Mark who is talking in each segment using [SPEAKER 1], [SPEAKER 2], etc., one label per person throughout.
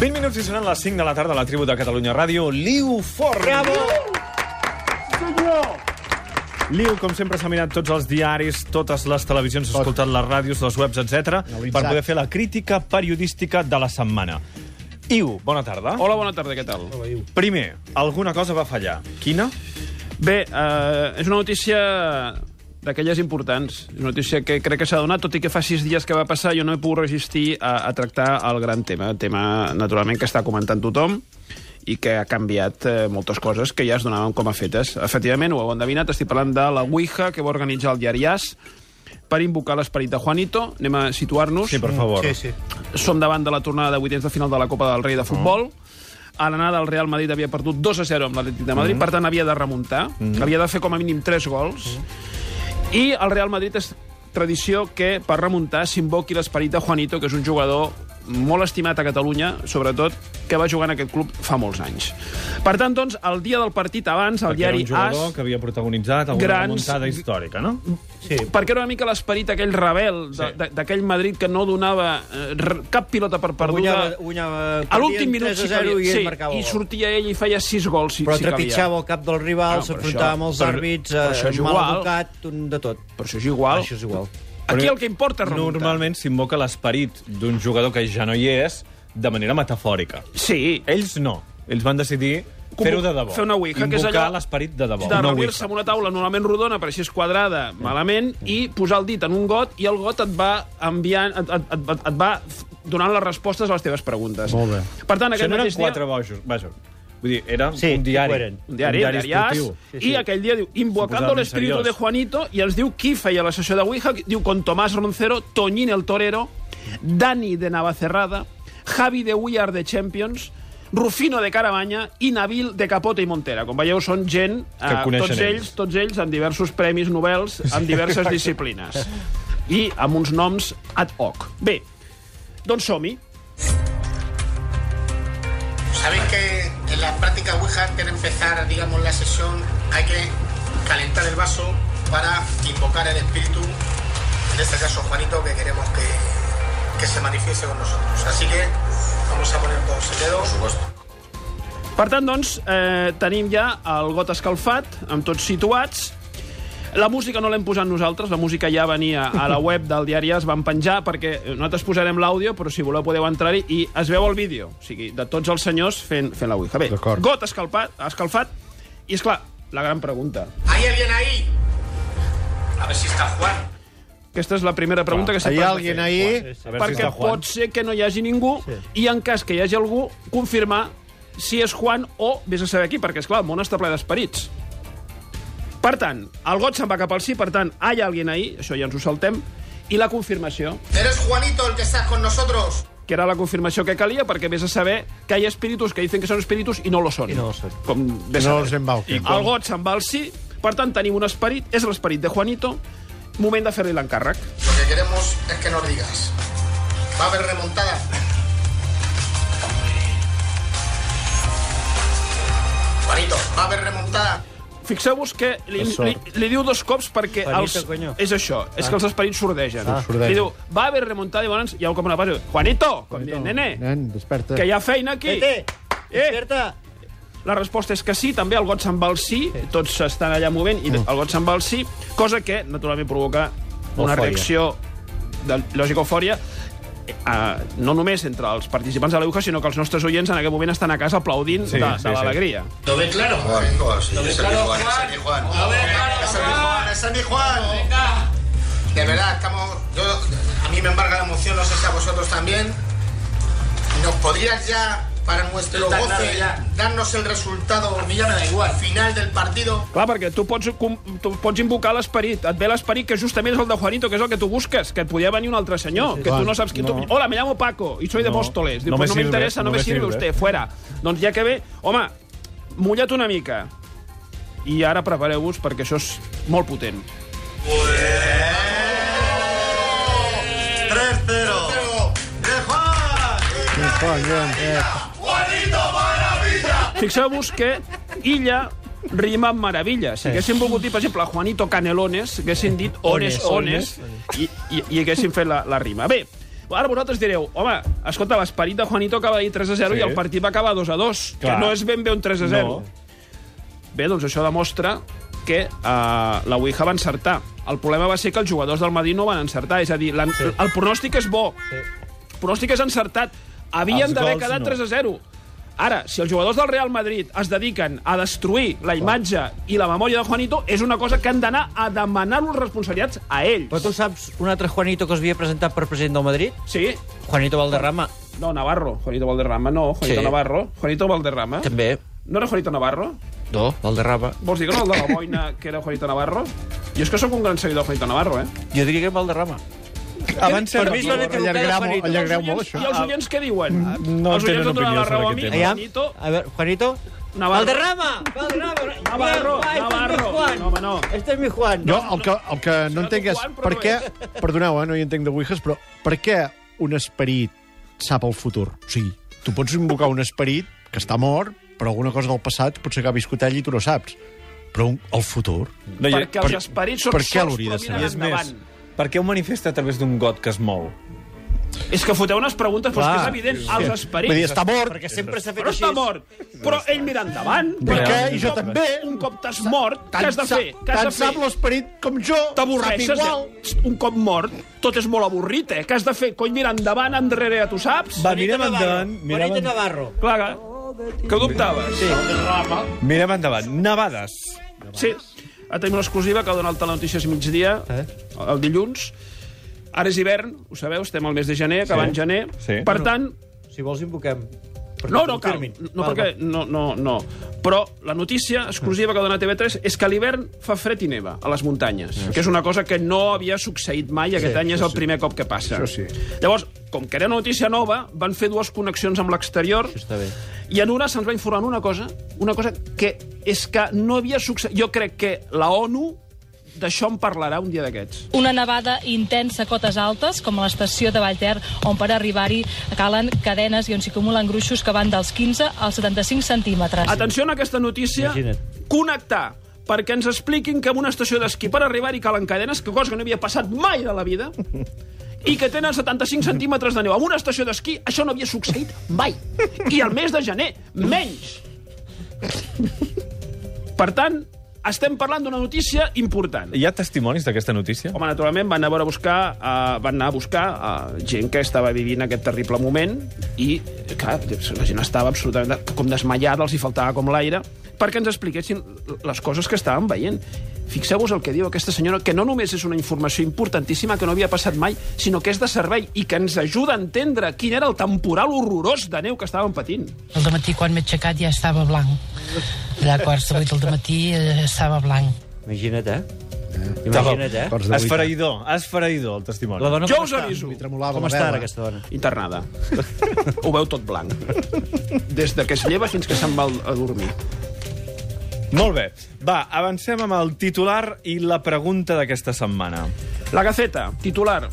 [SPEAKER 1] 20 minuts i seran les 5 de la tarda a la tribu de Catalunya Ràdio. Liu Forn! Bravo! Liu, com sempre, s'ha mirat tots els diaris, totes les televisions, s'ha escoltat les ràdios, les webs, etc per poder fer la crítica periodística de la setmana. Iu, bona tarda.
[SPEAKER 2] Hola, bona tarda, què tal? Hola,
[SPEAKER 1] Primer, alguna cosa va fallar. Quina?
[SPEAKER 2] Bé, eh, és una notícia d'aquelles importants. És una notícia que crec que s'ha donat, tot i que fa sis dies que va passar jo no he pogut resistir a, a tractar el gran tema, el tema, naturalment, que està comentant tothom i que ha canviat eh, moltes coses que ja es donaven com a fetes. Efectivament, ho heu endevinat, estic parlant de la Ouija que va organitzar el diari As per invocar l'esperit de Juanito. Anem a situar-nos.
[SPEAKER 1] Sí, per favor.
[SPEAKER 3] Sí, sí.
[SPEAKER 2] Som davant de la tornada de vuitens de final de la Copa del Rei de futbol.
[SPEAKER 1] Oh.
[SPEAKER 2] A l'anada, el Real Madrid havia perdut 2 a 0 amb l'Atlètic de
[SPEAKER 1] Mm-hmm.
[SPEAKER 2] Madrid, per tant, havia de remuntar. Havia de fer com a mínim 3 gols.
[SPEAKER 1] Mm-hmm.
[SPEAKER 2] I el Real Madrid és tradició que, per remuntar, s'invoqui l'esperit de Juanito, que és un jugador molt estimat a Catalunya, sobretot, que va jugar en aquest club fa molts anys. Per tant, doncs, el dia del partit abans, el
[SPEAKER 1] Perquè era
[SPEAKER 2] diari
[SPEAKER 1] un jugador
[SPEAKER 2] As...
[SPEAKER 1] que havia protagonitzat alguna
[SPEAKER 2] Grans-
[SPEAKER 1] remuntada històrica, no?
[SPEAKER 3] Sí.
[SPEAKER 2] perquè era una mica l'esperit aquell rebel de-
[SPEAKER 1] Sí.
[SPEAKER 2] de- d'aquell Madrid que no donava eh, r- cap pilota per perduda.
[SPEAKER 3] Guanyava- guanyava-
[SPEAKER 2] a l'últim
[SPEAKER 3] perdien
[SPEAKER 2] minut
[SPEAKER 3] 3 a 0
[SPEAKER 2] sí, calia.
[SPEAKER 3] i ell
[SPEAKER 2] sí,
[SPEAKER 3] marcava
[SPEAKER 2] i
[SPEAKER 3] gol.
[SPEAKER 2] sortia ell i feia sis gols si,
[SPEAKER 3] Però
[SPEAKER 2] si
[SPEAKER 3] trepitjava
[SPEAKER 2] calia.
[SPEAKER 3] el cap del rival,
[SPEAKER 2] No, però
[SPEAKER 3] s'afrontava
[SPEAKER 2] això-
[SPEAKER 3] amb els
[SPEAKER 2] però-
[SPEAKER 3] àrbits,
[SPEAKER 2] però això
[SPEAKER 3] eh,
[SPEAKER 2] és
[SPEAKER 3] mal
[SPEAKER 2] igual.
[SPEAKER 3] educat, un de tot.
[SPEAKER 2] Però això és igual.
[SPEAKER 3] Això és igual.
[SPEAKER 2] Aquí el que importa és remuntar.
[SPEAKER 1] Normalment s'invoca l'esperit d'un jugador que ja no hi és de manera metafòrica.
[SPEAKER 2] Sí, eh,
[SPEAKER 1] Ells no. Ells van decidir fer-ho de debò.
[SPEAKER 2] Fer una ouija, que és
[SPEAKER 1] Invocar
[SPEAKER 2] allò
[SPEAKER 1] l'esperit de debò.
[SPEAKER 2] de
[SPEAKER 1] una
[SPEAKER 2] reunir-se
[SPEAKER 1] ouija.
[SPEAKER 2] amb una taula normalment rodona, per així és quadrada, malament, i posar el dit en un got, i el got et va enviant, et, et, et, et va f- donant les respostes a les teves preguntes.
[SPEAKER 3] Molt bé.
[SPEAKER 2] Per tant,
[SPEAKER 1] Això
[SPEAKER 2] aquest
[SPEAKER 1] no eren
[SPEAKER 2] mateix
[SPEAKER 1] quatre
[SPEAKER 2] dia...
[SPEAKER 1] bojos. Vaja, vull dir, era
[SPEAKER 3] Sí,
[SPEAKER 1] un diari.
[SPEAKER 3] ho eren.
[SPEAKER 2] Un diari, un diari as,
[SPEAKER 1] esportiu.
[SPEAKER 2] sí, sí. i aquell dia diu, invocando el
[SPEAKER 1] Suposadament
[SPEAKER 2] espíritu
[SPEAKER 1] seriós.
[SPEAKER 2] de Juanito, i ens diu qui feia la sessió de Ouija, diu con Tomás Roncero, Toñín el Torero, Dani de Navacerrada, Javi de We Are the Champions, Rufino de Caravanya i Nabil de Capote i Montera. Com veieu, són gent, eh,
[SPEAKER 1] coneixen
[SPEAKER 2] tots
[SPEAKER 1] ells.
[SPEAKER 2] ells, tots ells amb diversos premis Nobels, amb diverses disciplines. I amb uns noms ad hoc. Bé, doncs som-hi.
[SPEAKER 4] Sabéis que en las prácticas Ouija, antes de empezar, digamos, la sesión, hay que calentar el vaso para invocar el espíritu, en este caso Juanito, que queremos que, que se manifieste con nosotros. Así que vamos a poner todos el dedo. Por supuesto.
[SPEAKER 2] Per tant, doncs, eh, tenim ja el got escalfat, amb tots situats. La música no l'hem posat nosaltres, la música ja venia a la web del diari, es van penjar, perquè nosaltres posarem l'àudio, però si voleu podeu entrar-hi, i es veu el vídeo, o sigui, de tots els senyors fent, fent la Ouija. Bé, got escalfat, escalfat, i és clar, la gran pregunta.
[SPEAKER 4] ¿Hay alguien ahí? A ver si está Juan.
[SPEAKER 2] Aquesta és la primera pregunta que sempre has de fer.
[SPEAKER 3] ahí?
[SPEAKER 1] A veure si
[SPEAKER 2] perquè
[SPEAKER 1] està Juan.
[SPEAKER 2] pot ser que no hi hagi ningú sí. i en cas que hi hagi algú, confirmar si és Juan o vés a saber qui, perquè, esclar, el món està ple d'esperits. Per tant, el got se'n va cap al sí, per tant, hi ha algú ahí, això ja ens ho saltem, i la confirmació,
[SPEAKER 4] ¿Eres Juanito el que estás con nosotros?
[SPEAKER 2] que era la confirmació que calia, perquè vés a saber que hi ha espíritus que dicen que són espíritus i no lo són.
[SPEAKER 3] I no ho sé.
[SPEAKER 2] Com vés a
[SPEAKER 3] No
[SPEAKER 2] saber.
[SPEAKER 3] els embauquen.
[SPEAKER 2] El got se'n va al sí, per tant, tenim un esperit, és l'esperit de Juanito, moment de fer-li l'encàrrec.
[SPEAKER 4] Lo que queremos es que nos digas. ¿Va a haber remontada? Juanito, ¿va a haver remontada?
[SPEAKER 2] Fixeu-vos que li, li, li diu dos cops perquè...
[SPEAKER 3] Juanito, coño.
[SPEAKER 2] És això, és que els esperits sordegen.
[SPEAKER 3] Ah, sordegen.
[SPEAKER 2] Li diu, va haver remuntada i llavors hi ha un cop una passa. Juanito, com dient, nene,
[SPEAKER 5] Nen, desperta.
[SPEAKER 2] que hi ha feina aquí.
[SPEAKER 3] Tete,
[SPEAKER 2] Eh,
[SPEAKER 3] desperta.
[SPEAKER 2] la resposta és que sí, també el got se'n va al sí, tots s'estan allà movent i el got se'n va al sí, cosa que naturalment provoca una
[SPEAKER 3] Eufòria.
[SPEAKER 2] reacció de lògica eufòria eh, eh, no només entre els participants de la UJA, sinó que els nostres oients en aquest moment estan a casa aplaudint sí, de, de
[SPEAKER 1] sí, sí.
[SPEAKER 2] l'alegria.
[SPEAKER 4] ¿Lo ve claro? ¿Lo ve claro, Juan? ¿Lo ve claro, Juan? ¡Ese es mi Juan! De verdad, estamos... Yo, a mí me embarga la emoción, no sé si a vosotros también. ¿Nos podrías ya, para nuestro
[SPEAKER 6] Está
[SPEAKER 4] goce,
[SPEAKER 6] claro ya.
[SPEAKER 4] darnos el resultado final del partido?
[SPEAKER 2] Clar, perquè tu pots, com, tu pots invocar l'esperit. Et ve l'esperit que justament és el de Juanito, que és el que tu busques, que et podia venir un altre senyor, que tu no saps qui... No. Tu... Hola, me llamo Paco i soy de Móstoles. Diu,
[SPEAKER 1] no
[SPEAKER 2] no
[SPEAKER 1] me
[SPEAKER 2] pues no
[SPEAKER 1] sirve,
[SPEAKER 2] m'interessa, no,
[SPEAKER 1] no
[SPEAKER 2] me
[SPEAKER 1] me
[SPEAKER 2] sirve,
[SPEAKER 1] sirve.
[SPEAKER 2] usted, fuera. Doncs ja que ve, home, mullat una mica. I ara prepareu-vos, perquè això és molt potent.
[SPEAKER 6] 3-0. ¡De Juan!
[SPEAKER 2] Fixeu-vos que Illa rima amb meravella. Si haguéssim volgut dir, per exemple, Juanito Canelones, haguéssim dit ones, ones, i, i, i haguéssim fet la, la rima. Bé, Ara vosaltres direu, home, escolta, l'esperit de Juanito acaba de dir 3 a 0
[SPEAKER 1] Sí.
[SPEAKER 2] sí. i el partit va acabar 2 a 2, que
[SPEAKER 1] Clar.
[SPEAKER 2] no és ben bé un 3 a 0. No. Bé, doncs això demostra que eh, la Ouija va encertar. El problema va ser que els jugadors del Madrid no van encertar, és a dir, l'en- el pronòstic és bo. El pronòstic és encertat. Havien
[SPEAKER 1] Els
[SPEAKER 2] d'haver
[SPEAKER 1] gols
[SPEAKER 2] quedat
[SPEAKER 1] no.
[SPEAKER 2] 3 a 0. Ara, si els jugadors del Real Madrid es dediquen a destruir la imatge i la memòria de Juanito, és una cosa que han d'anar a demanar-los responsabilitats a ells.
[SPEAKER 3] Però tu saps un altre Juanito que es havia presentat per president del Madrid?
[SPEAKER 2] Sí,
[SPEAKER 3] Juanito Valderrama,
[SPEAKER 2] No, Navarro. Juanito Valderrama, no. Juanito
[SPEAKER 3] Sí.
[SPEAKER 2] Navarro. Juanito Valderrama.
[SPEAKER 3] també.
[SPEAKER 2] No era Juanito Navarro?
[SPEAKER 3] No, Valderrama.
[SPEAKER 2] Vols dir que no el de la boina, que era Juanito Navarro? Jo és que sóc un gran seguidor de Juanito Navarro, eh?
[SPEAKER 3] Jo diria que era Valderrama.
[SPEAKER 1] Abans
[SPEAKER 3] Per mi és la
[SPEAKER 1] era...
[SPEAKER 3] neta europea de Juanito.
[SPEAKER 5] allargareu molt,
[SPEAKER 2] I
[SPEAKER 5] això.
[SPEAKER 2] els oients què diuen?
[SPEAKER 1] ah, no
[SPEAKER 2] els
[SPEAKER 1] tenen
[SPEAKER 2] oients em donen la
[SPEAKER 1] opinió sobre
[SPEAKER 2] raó a
[SPEAKER 1] aquest
[SPEAKER 2] mi.
[SPEAKER 1] tema.
[SPEAKER 3] Aviam.
[SPEAKER 2] Juanito
[SPEAKER 3] A veure, Juanito.
[SPEAKER 2] Navarro.
[SPEAKER 3] Valderrama! Valderrama!
[SPEAKER 2] Navarro,
[SPEAKER 3] Ai, este es mi
[SPEAKER 2] Navarro.
[SPEAKER 3] Juan.
[SPEAKER 2] No, home, no.
[SPEAKER 3] Este es mi Juan.
[SPEAKER 5] Jo el que, el que no entenc és
[SPEAKER 2] Juan, però
[SPEAKER 5] per
[SPEAKER 2] no
[SPEAKER 5] què... Perdoneu, eh, no hi entenc de Ouijas, però per què un esperit sap el futur? O sigui, tu pots invocar un esperit que està mort, però alguna cosa del passat potser que ha viscut ell i tu no saps. Però un, el futur...
[SPEAKER 1] No, i-
[SPEAKER 2] perquè els esperits són
[SPEAKER 5] per què
[SPEAKER 2] sols,
[SPEAKER 5] l'hauria
[SPEAKER 2] però
[SPEAKER 5] de
[SPEAKER 2] miren
[SPEAKER 1] I és més,
[SPEAKER 2] endavant.
[SPEAKER 1] per què ho manifesta a través d'un got que es mou?
[SPEAKER 2] És que foteu unes preguntes, però és que és
[SPEAKER 5] Clar.
[SPEAKER 2] evident. Els esperits...
[SPEAKER 5] Vull dir, està mort,
[SPEAKER 3] Perquè sempre s'ha fet
[SPEAKER 2] Però
[SPEAKER 3] així.
[SPEAKER 2] està mort. Però ell mira endavant.
[SPEAKER 5] per
[SPEAKER 1] Però
[SPEAKER 5] què?
[SPEAKER 1] ja,
[SPEAKER 5] I jo
[SPEAKER 1] ja,
[SPEAKER 5] també.
[SPEAKER 2] Un cop t'has mort, què
[SPEAKER 5] Tant
[SPEAKER 2] has de
[SPEAKER 5] sap-
[SPEAKER 2] fer? Què
[SPEAKER 5] Tant
[SPEAKER 2] has de
[SPEAKER 5] sap
[SPEAKER 2] fer?
[SPEAKER 5] l'esperit com jo.
[SPEAKER 2] T'avorreixes.
[SPEAKER 5] Sap igual.
[SPEAKER 2] eh? Un cop mort, tot és molt avorrit, eh? Què has de fer? Cony, mirar endavant, enrere, ja tu saps?
[SPEAKER 1] Va,
[SPEAKER 3] Juanito
[SPEAKER 1] mirem
[SPEAKER 3] Navarro.
[SPEAKER 1] endavant, mirem,
[SPEAKER 3] Juanito Navarro.
[SPEAKER 2] Clar, que- que ho dubtaves. Sí.
[SPEAKER 1] mirem endavant. Nevades.
[SPEAKER 2] sí. Ara tenim una exclusiva que dona el Telenotícies migdia, eh? el dilluns. Ara és hivern, ho sabeu, estem al mes de gener, acabant
[SPEAKER 1] Sí.
[SPEAKER 2] gener.
[SPEAKER 1] Sí.
[SPEAKER 2] Per tant,
[SPEAKER 3] Si vols, invoquem. Perquè
[SPEAKER 2] no, no cal.
[SPEAKER 3] confirmin. Ah,
[SPEAKER 2] No,
[SPEAKER 3] Val,
[SPEAKER 2] perquè... No, no, no. Però la notícia exclusiva que dona TV3 és que a l'hivern fa fred i neva a les muntanyes, que és una cosa que no havia succeït mai i aquest any és el primer cop que passa.
[SPEAKER 5] sí.
[SPEAKER 2] Llavors, com que era una notícia nova, van fer dues connexions amb l'exterior
[SPEAKER 3] Està bé.
[SPEAKER 2] i en una se'ns va informar una cosa, una cosa que és que no havia succeït... Jo crec que la ONU d'això en parlarà un dia d'aquests.
[SPEAKER 7] Una nevada intensa a cotes altes, com a l'estació de Vallter, on per arribar-hi calen cadenes i on s'hi acumulen gruixos que van dels 15 als 75 centímetres.
[SPEAKER 2] Atenció a aquesta notícia.
[SPEAKER 3] Imagina't.
[SPEAKER 2] Connectar perquè ens expliquin que en una estació d'esquí per arribar-hi calen cadenes, que cosa que no havia passat mai de la vida, i que tenen 75 centímetres de neu. En una estació d'esquí això no havia succeït mai. I al mes de gener, menys. Per tant, estem parlant d'una notícia important.
[SPEAKER 1] Hi ha testimonis d'aquesta notícia?
[SPEAKER 2] Home, naturalment, van anar a veure a buscar, uh, van anar a buscar uh, gent que estava vivint aquest terrible moment i, clar, la gent estava absolutament de- com desmaiada, els hi faltava com l'aire, perquè ens expliquessin les coses que estaven veient. Fixeu-vos el que diu aquesta senyora, que no només és una informació importantíssima que no havia passat mai, sinó que és de servei i que ens ajuda a entendre quin era el temporal horrorós de neu que estaven patint.
[SPEAKER 8] El matí quan m'he aixecat ja estava blanc. De quarts de vuit del matí eh, estava blanc.
[SPEAKER 3] Imagina't, eh? Imagina't, eh?
[SPEAKER 5] Doncs de vuit.
[SPEAKER 1] Esfereïdor, esfereïdor, el testimoni.
[SPEAKER 3] dona
[SPEAKER 2] Jo
[SPEAKER 3] com
[SPEAKER 2] us
[SPEAKER 3] està?
[SPEAKER 2] aviso.
[SPEAKER 5] Li tremolava
[SPEAKER 3] Com
[SPEAKER 5] la
[SPEAKER 3] està
[SPEAKER 5] vela.
[SPEAKER 3] eh, ara aquesta dona?
[SPEAKER 2] internada. Ho veu tot blanc. Des de que es lleva fins que se'n va a dormir.
[SPEAKER 1] Molt bé. Va, avancem amb el titular i la pregunta d'aquesta setmana.
[SPEAKER 2] La Gaceta, titular.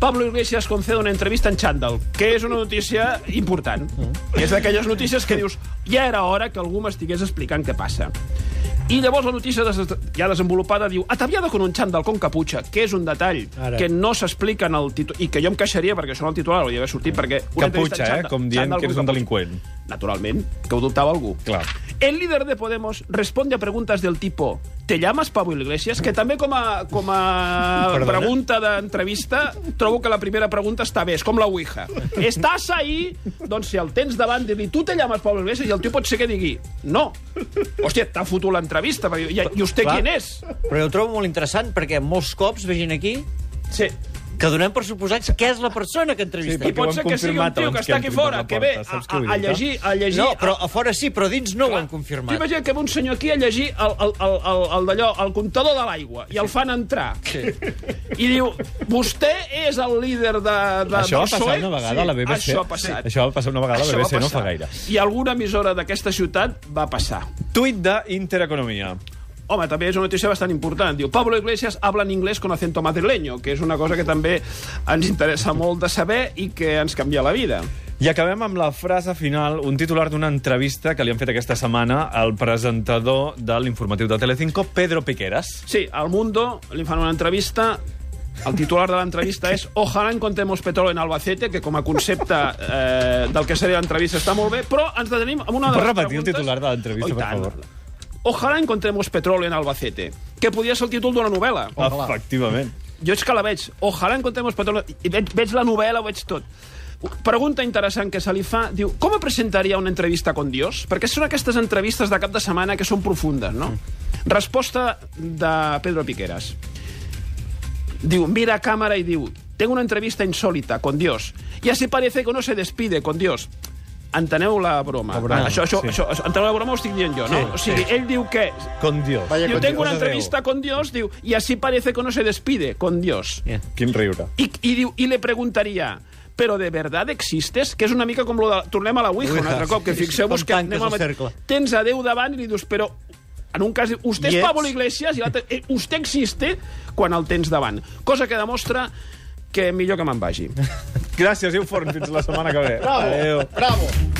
[SPEAKER 2] Pablo Iglesias concede una entrevista en xandall, que és una notícia important.
[SPEAKER 1] Mm.
[SPEAKER 2] És d'aquelles notícies que dius ja era hora que algú m'estigués explicant què passa. I llavors la notícia des ja desenvolupada diu ataviada con un xandall con caputxa, que és un detall
[SPEAKER 3] Ara.
[SPEAKER 2] que no s'explica en el títol... I que jo em queixaria perquè això en el titular hauria d'haver sortit, perquè... una
[SPEAKER 1] Caputxa,
[SPEAKER 2] entrevista en
[SPEAKER 1] eh?
[SPEAKER 2] xandall-
[SPEAKER 1] Com dient
[SPEAKER 2] xandall
[SPEAKER 1] que
[SPEAKER 2] con
[SPEAKER 1] eres un
[SPEAKER 2] caputxa.
[SPEAKER 1] delinqüent.
[SPEAKER 2] Naturalment, que ho dubtava algú.
[SPEAKER 1] Clar.
[SPEAKER 2] El líder de Podemos responde a preguntas del tipo ¿Te llamas Pablo Iglesias? Que també com a, com a pregunta d'entrevista trobo que la primera pregunta està bé, és com la Ouija. Estàs ahí? Doncs si el tens davant, dir-li tu te llamas Pablo Iglesias i el tio pot ser que digui no. Hòstia, t'ha fotut l'entrevista. perquè- I, I usted
[SPEAKER 3] Clar.
[SPEAKER 2] qui és?
[SPEAKER 3] Però jo ho trobo molt interessant perquè molts cops vegin aquí
[SPEAKER 2] Sí.
[SPEAKER 3] que donem per suposat que és la persona que entrevista.
[SPEAKER 2] I
[SPEAKER 1] Sí, perquè ho
[SPEAKER 2] pot
[SPEAKER 1] han
[SPEAKER 2] ser que sigui un
[SPEAKER 1] confirmat
[SPEAKER 2] tio
[SPEAKER 1] abans
[SPEAKER 2] que
[SPEAKER 1] que
[SPEAKER 2] està aquí
[SPEAKER 1] entri per
[SPEAKER 2] fora,
[SPEAKER 1] la
[SPEAKER 2] que ve
[SPEAKER 1] porta,
[SPEAKER 2] a,
[SPEAKER 1] saps què
[SPEAKER 2] a,
[SPEAKER 1] vull
[SPEAKER 2] a
[SPEAKER 1] dir,
[SPEAKER 2] llegir, a llegir...
[SPEAKER 3] No,
[SPEAKER 2] a-
[SPEAKER 3] però a fora sí, però a dins no ho han
[SPEAKER 2] Tu
[SPEAKER 3] confirmat.
[SPEAKER 2] imagina't que ve un senyor aquí a llegir el, el, el, el, el d'allò, el comptador de l'aigua, i el fan entrar. Sí. I diu, vostè és el líder de, de
[SPEAKER 1] Això va
[SPEAKER 2] del PSOE?
[SPEAKER 1] passar una vegada a la BBC.
[SPEAKER 2] Això ha passat.
[SPEAKER 1] Això va passar una vegada a
[SPEAKER 2] Això
[SPEAKER 1] la
[SPEAKER 2] va
[SPEAKER 1] BBC, no
[SPEAKER 2] passar.
[SPEAKER 1] fa gaire.
[SPEAKER 2] I alguna emissora d'aquesta ciutat va passar.
[SPEAKER 1] Tuit d'Intereconomia.
[SPEAKER 2] Home, també és una notícia bastant important. Diu, Pablo Iglesias habla en anglès con acento madrileño, que és una cosa que també ens interessa molt de saber i que ens canvia la vida.
[SPEAKER 1] I acabem amb la frase final, un titular d'una entrevista que li han fet aquesta setmana al presentador de l'informatiu de Telecinco, Pedro Piqueras.
[SPEAKER 2] Sí, al Mundo li fan una entrevista El titular de l'entrevista és Ojalá encontremos petróleo en Albacete, que com a concepte eh, del que seria l'entrevista està molt bé, però ens detenim amb una de
[SPEAKER 1] Pots
[SPEAKER 2] les
[SPEAKER 1] repetir el
[SPEAKER 2] preguntes-
[SPEAKER 1] titular de l'entrevista,
[SPEAKER 2] Oh, i
[SPEAKER 1] per
[SPEAKER 2] tant.
[SPEAKER 1] favor?
[SPEAKER 2] Ojalá encontremos petróleo en Albacete, que podia ser el títol d'una novel·la.
[SPEAKER 1] Ah, Efectivament.
[SPEAKER 2] Jo és que la veig. Ojalà encontremos petróleo. I veig, veig la novel·la, ho veig tot. Pregunta interessant que se li fa, diu, com presentaria una entrevista con Dios? Perquè són aquestes entrevistes de cap de setmana que són profundes, no? Resposta de Pedro Piqueras. Diu, mira a cámara y diu, tengo una entrevista insólita con Dios. Y así parece que uno se despide con Dios. Enteneu la broma. La broma això, això, sí. això, enteneu la broma ho estic dient jo, no? Sí, o sigui, sí. ell diu que
[SPEAKER 1] Con Dios.
[SPEAKER 5] Vaya
[SPEAKER 2] Yo
[SPEAKER 5] con
[SPEAKER 2] tengo
[SPEAKER 5] Dios.
[SPEAKER 2] una entrevista con Dios, digo, y así parece que uno se despide con Dios.
[SPEAKER 1] Quin riure.
[SPEAKER 2] I, i, diu, i le preguntaria però de verdad existes? Que és una mica com lo de... Tornem a la Ouija un altre cop, que fixeu-vos
[SPEAKER 3] Com
[SPEAKER 2] que
[SPEAKER 3] tanques
[SPEAKER 2] anem al
[SPEAKER 3] el
[SPEAKER 2] mat-
[SPEAKER 3] cercle.
[SPEAKER 2] Tens a Déu davant i li dius, però en un cas, diu, usted
[SPEAKER 5] I
[SPEAKER 2] és
[SPEAKER 5] ets?
[SPEAKER 2] Pablo Iglesias i l'altre, eh, usted existe quan el tens davant. Cosa que demostra que millor que me'n vagi.
[SPEAKER 1] Gràcies, Iu Forn. Fins la setmana que ve.
[SPEAKER 5] Bravo,
[SPEAKER 1] Adéu.
[SPEAKER 5] bravo.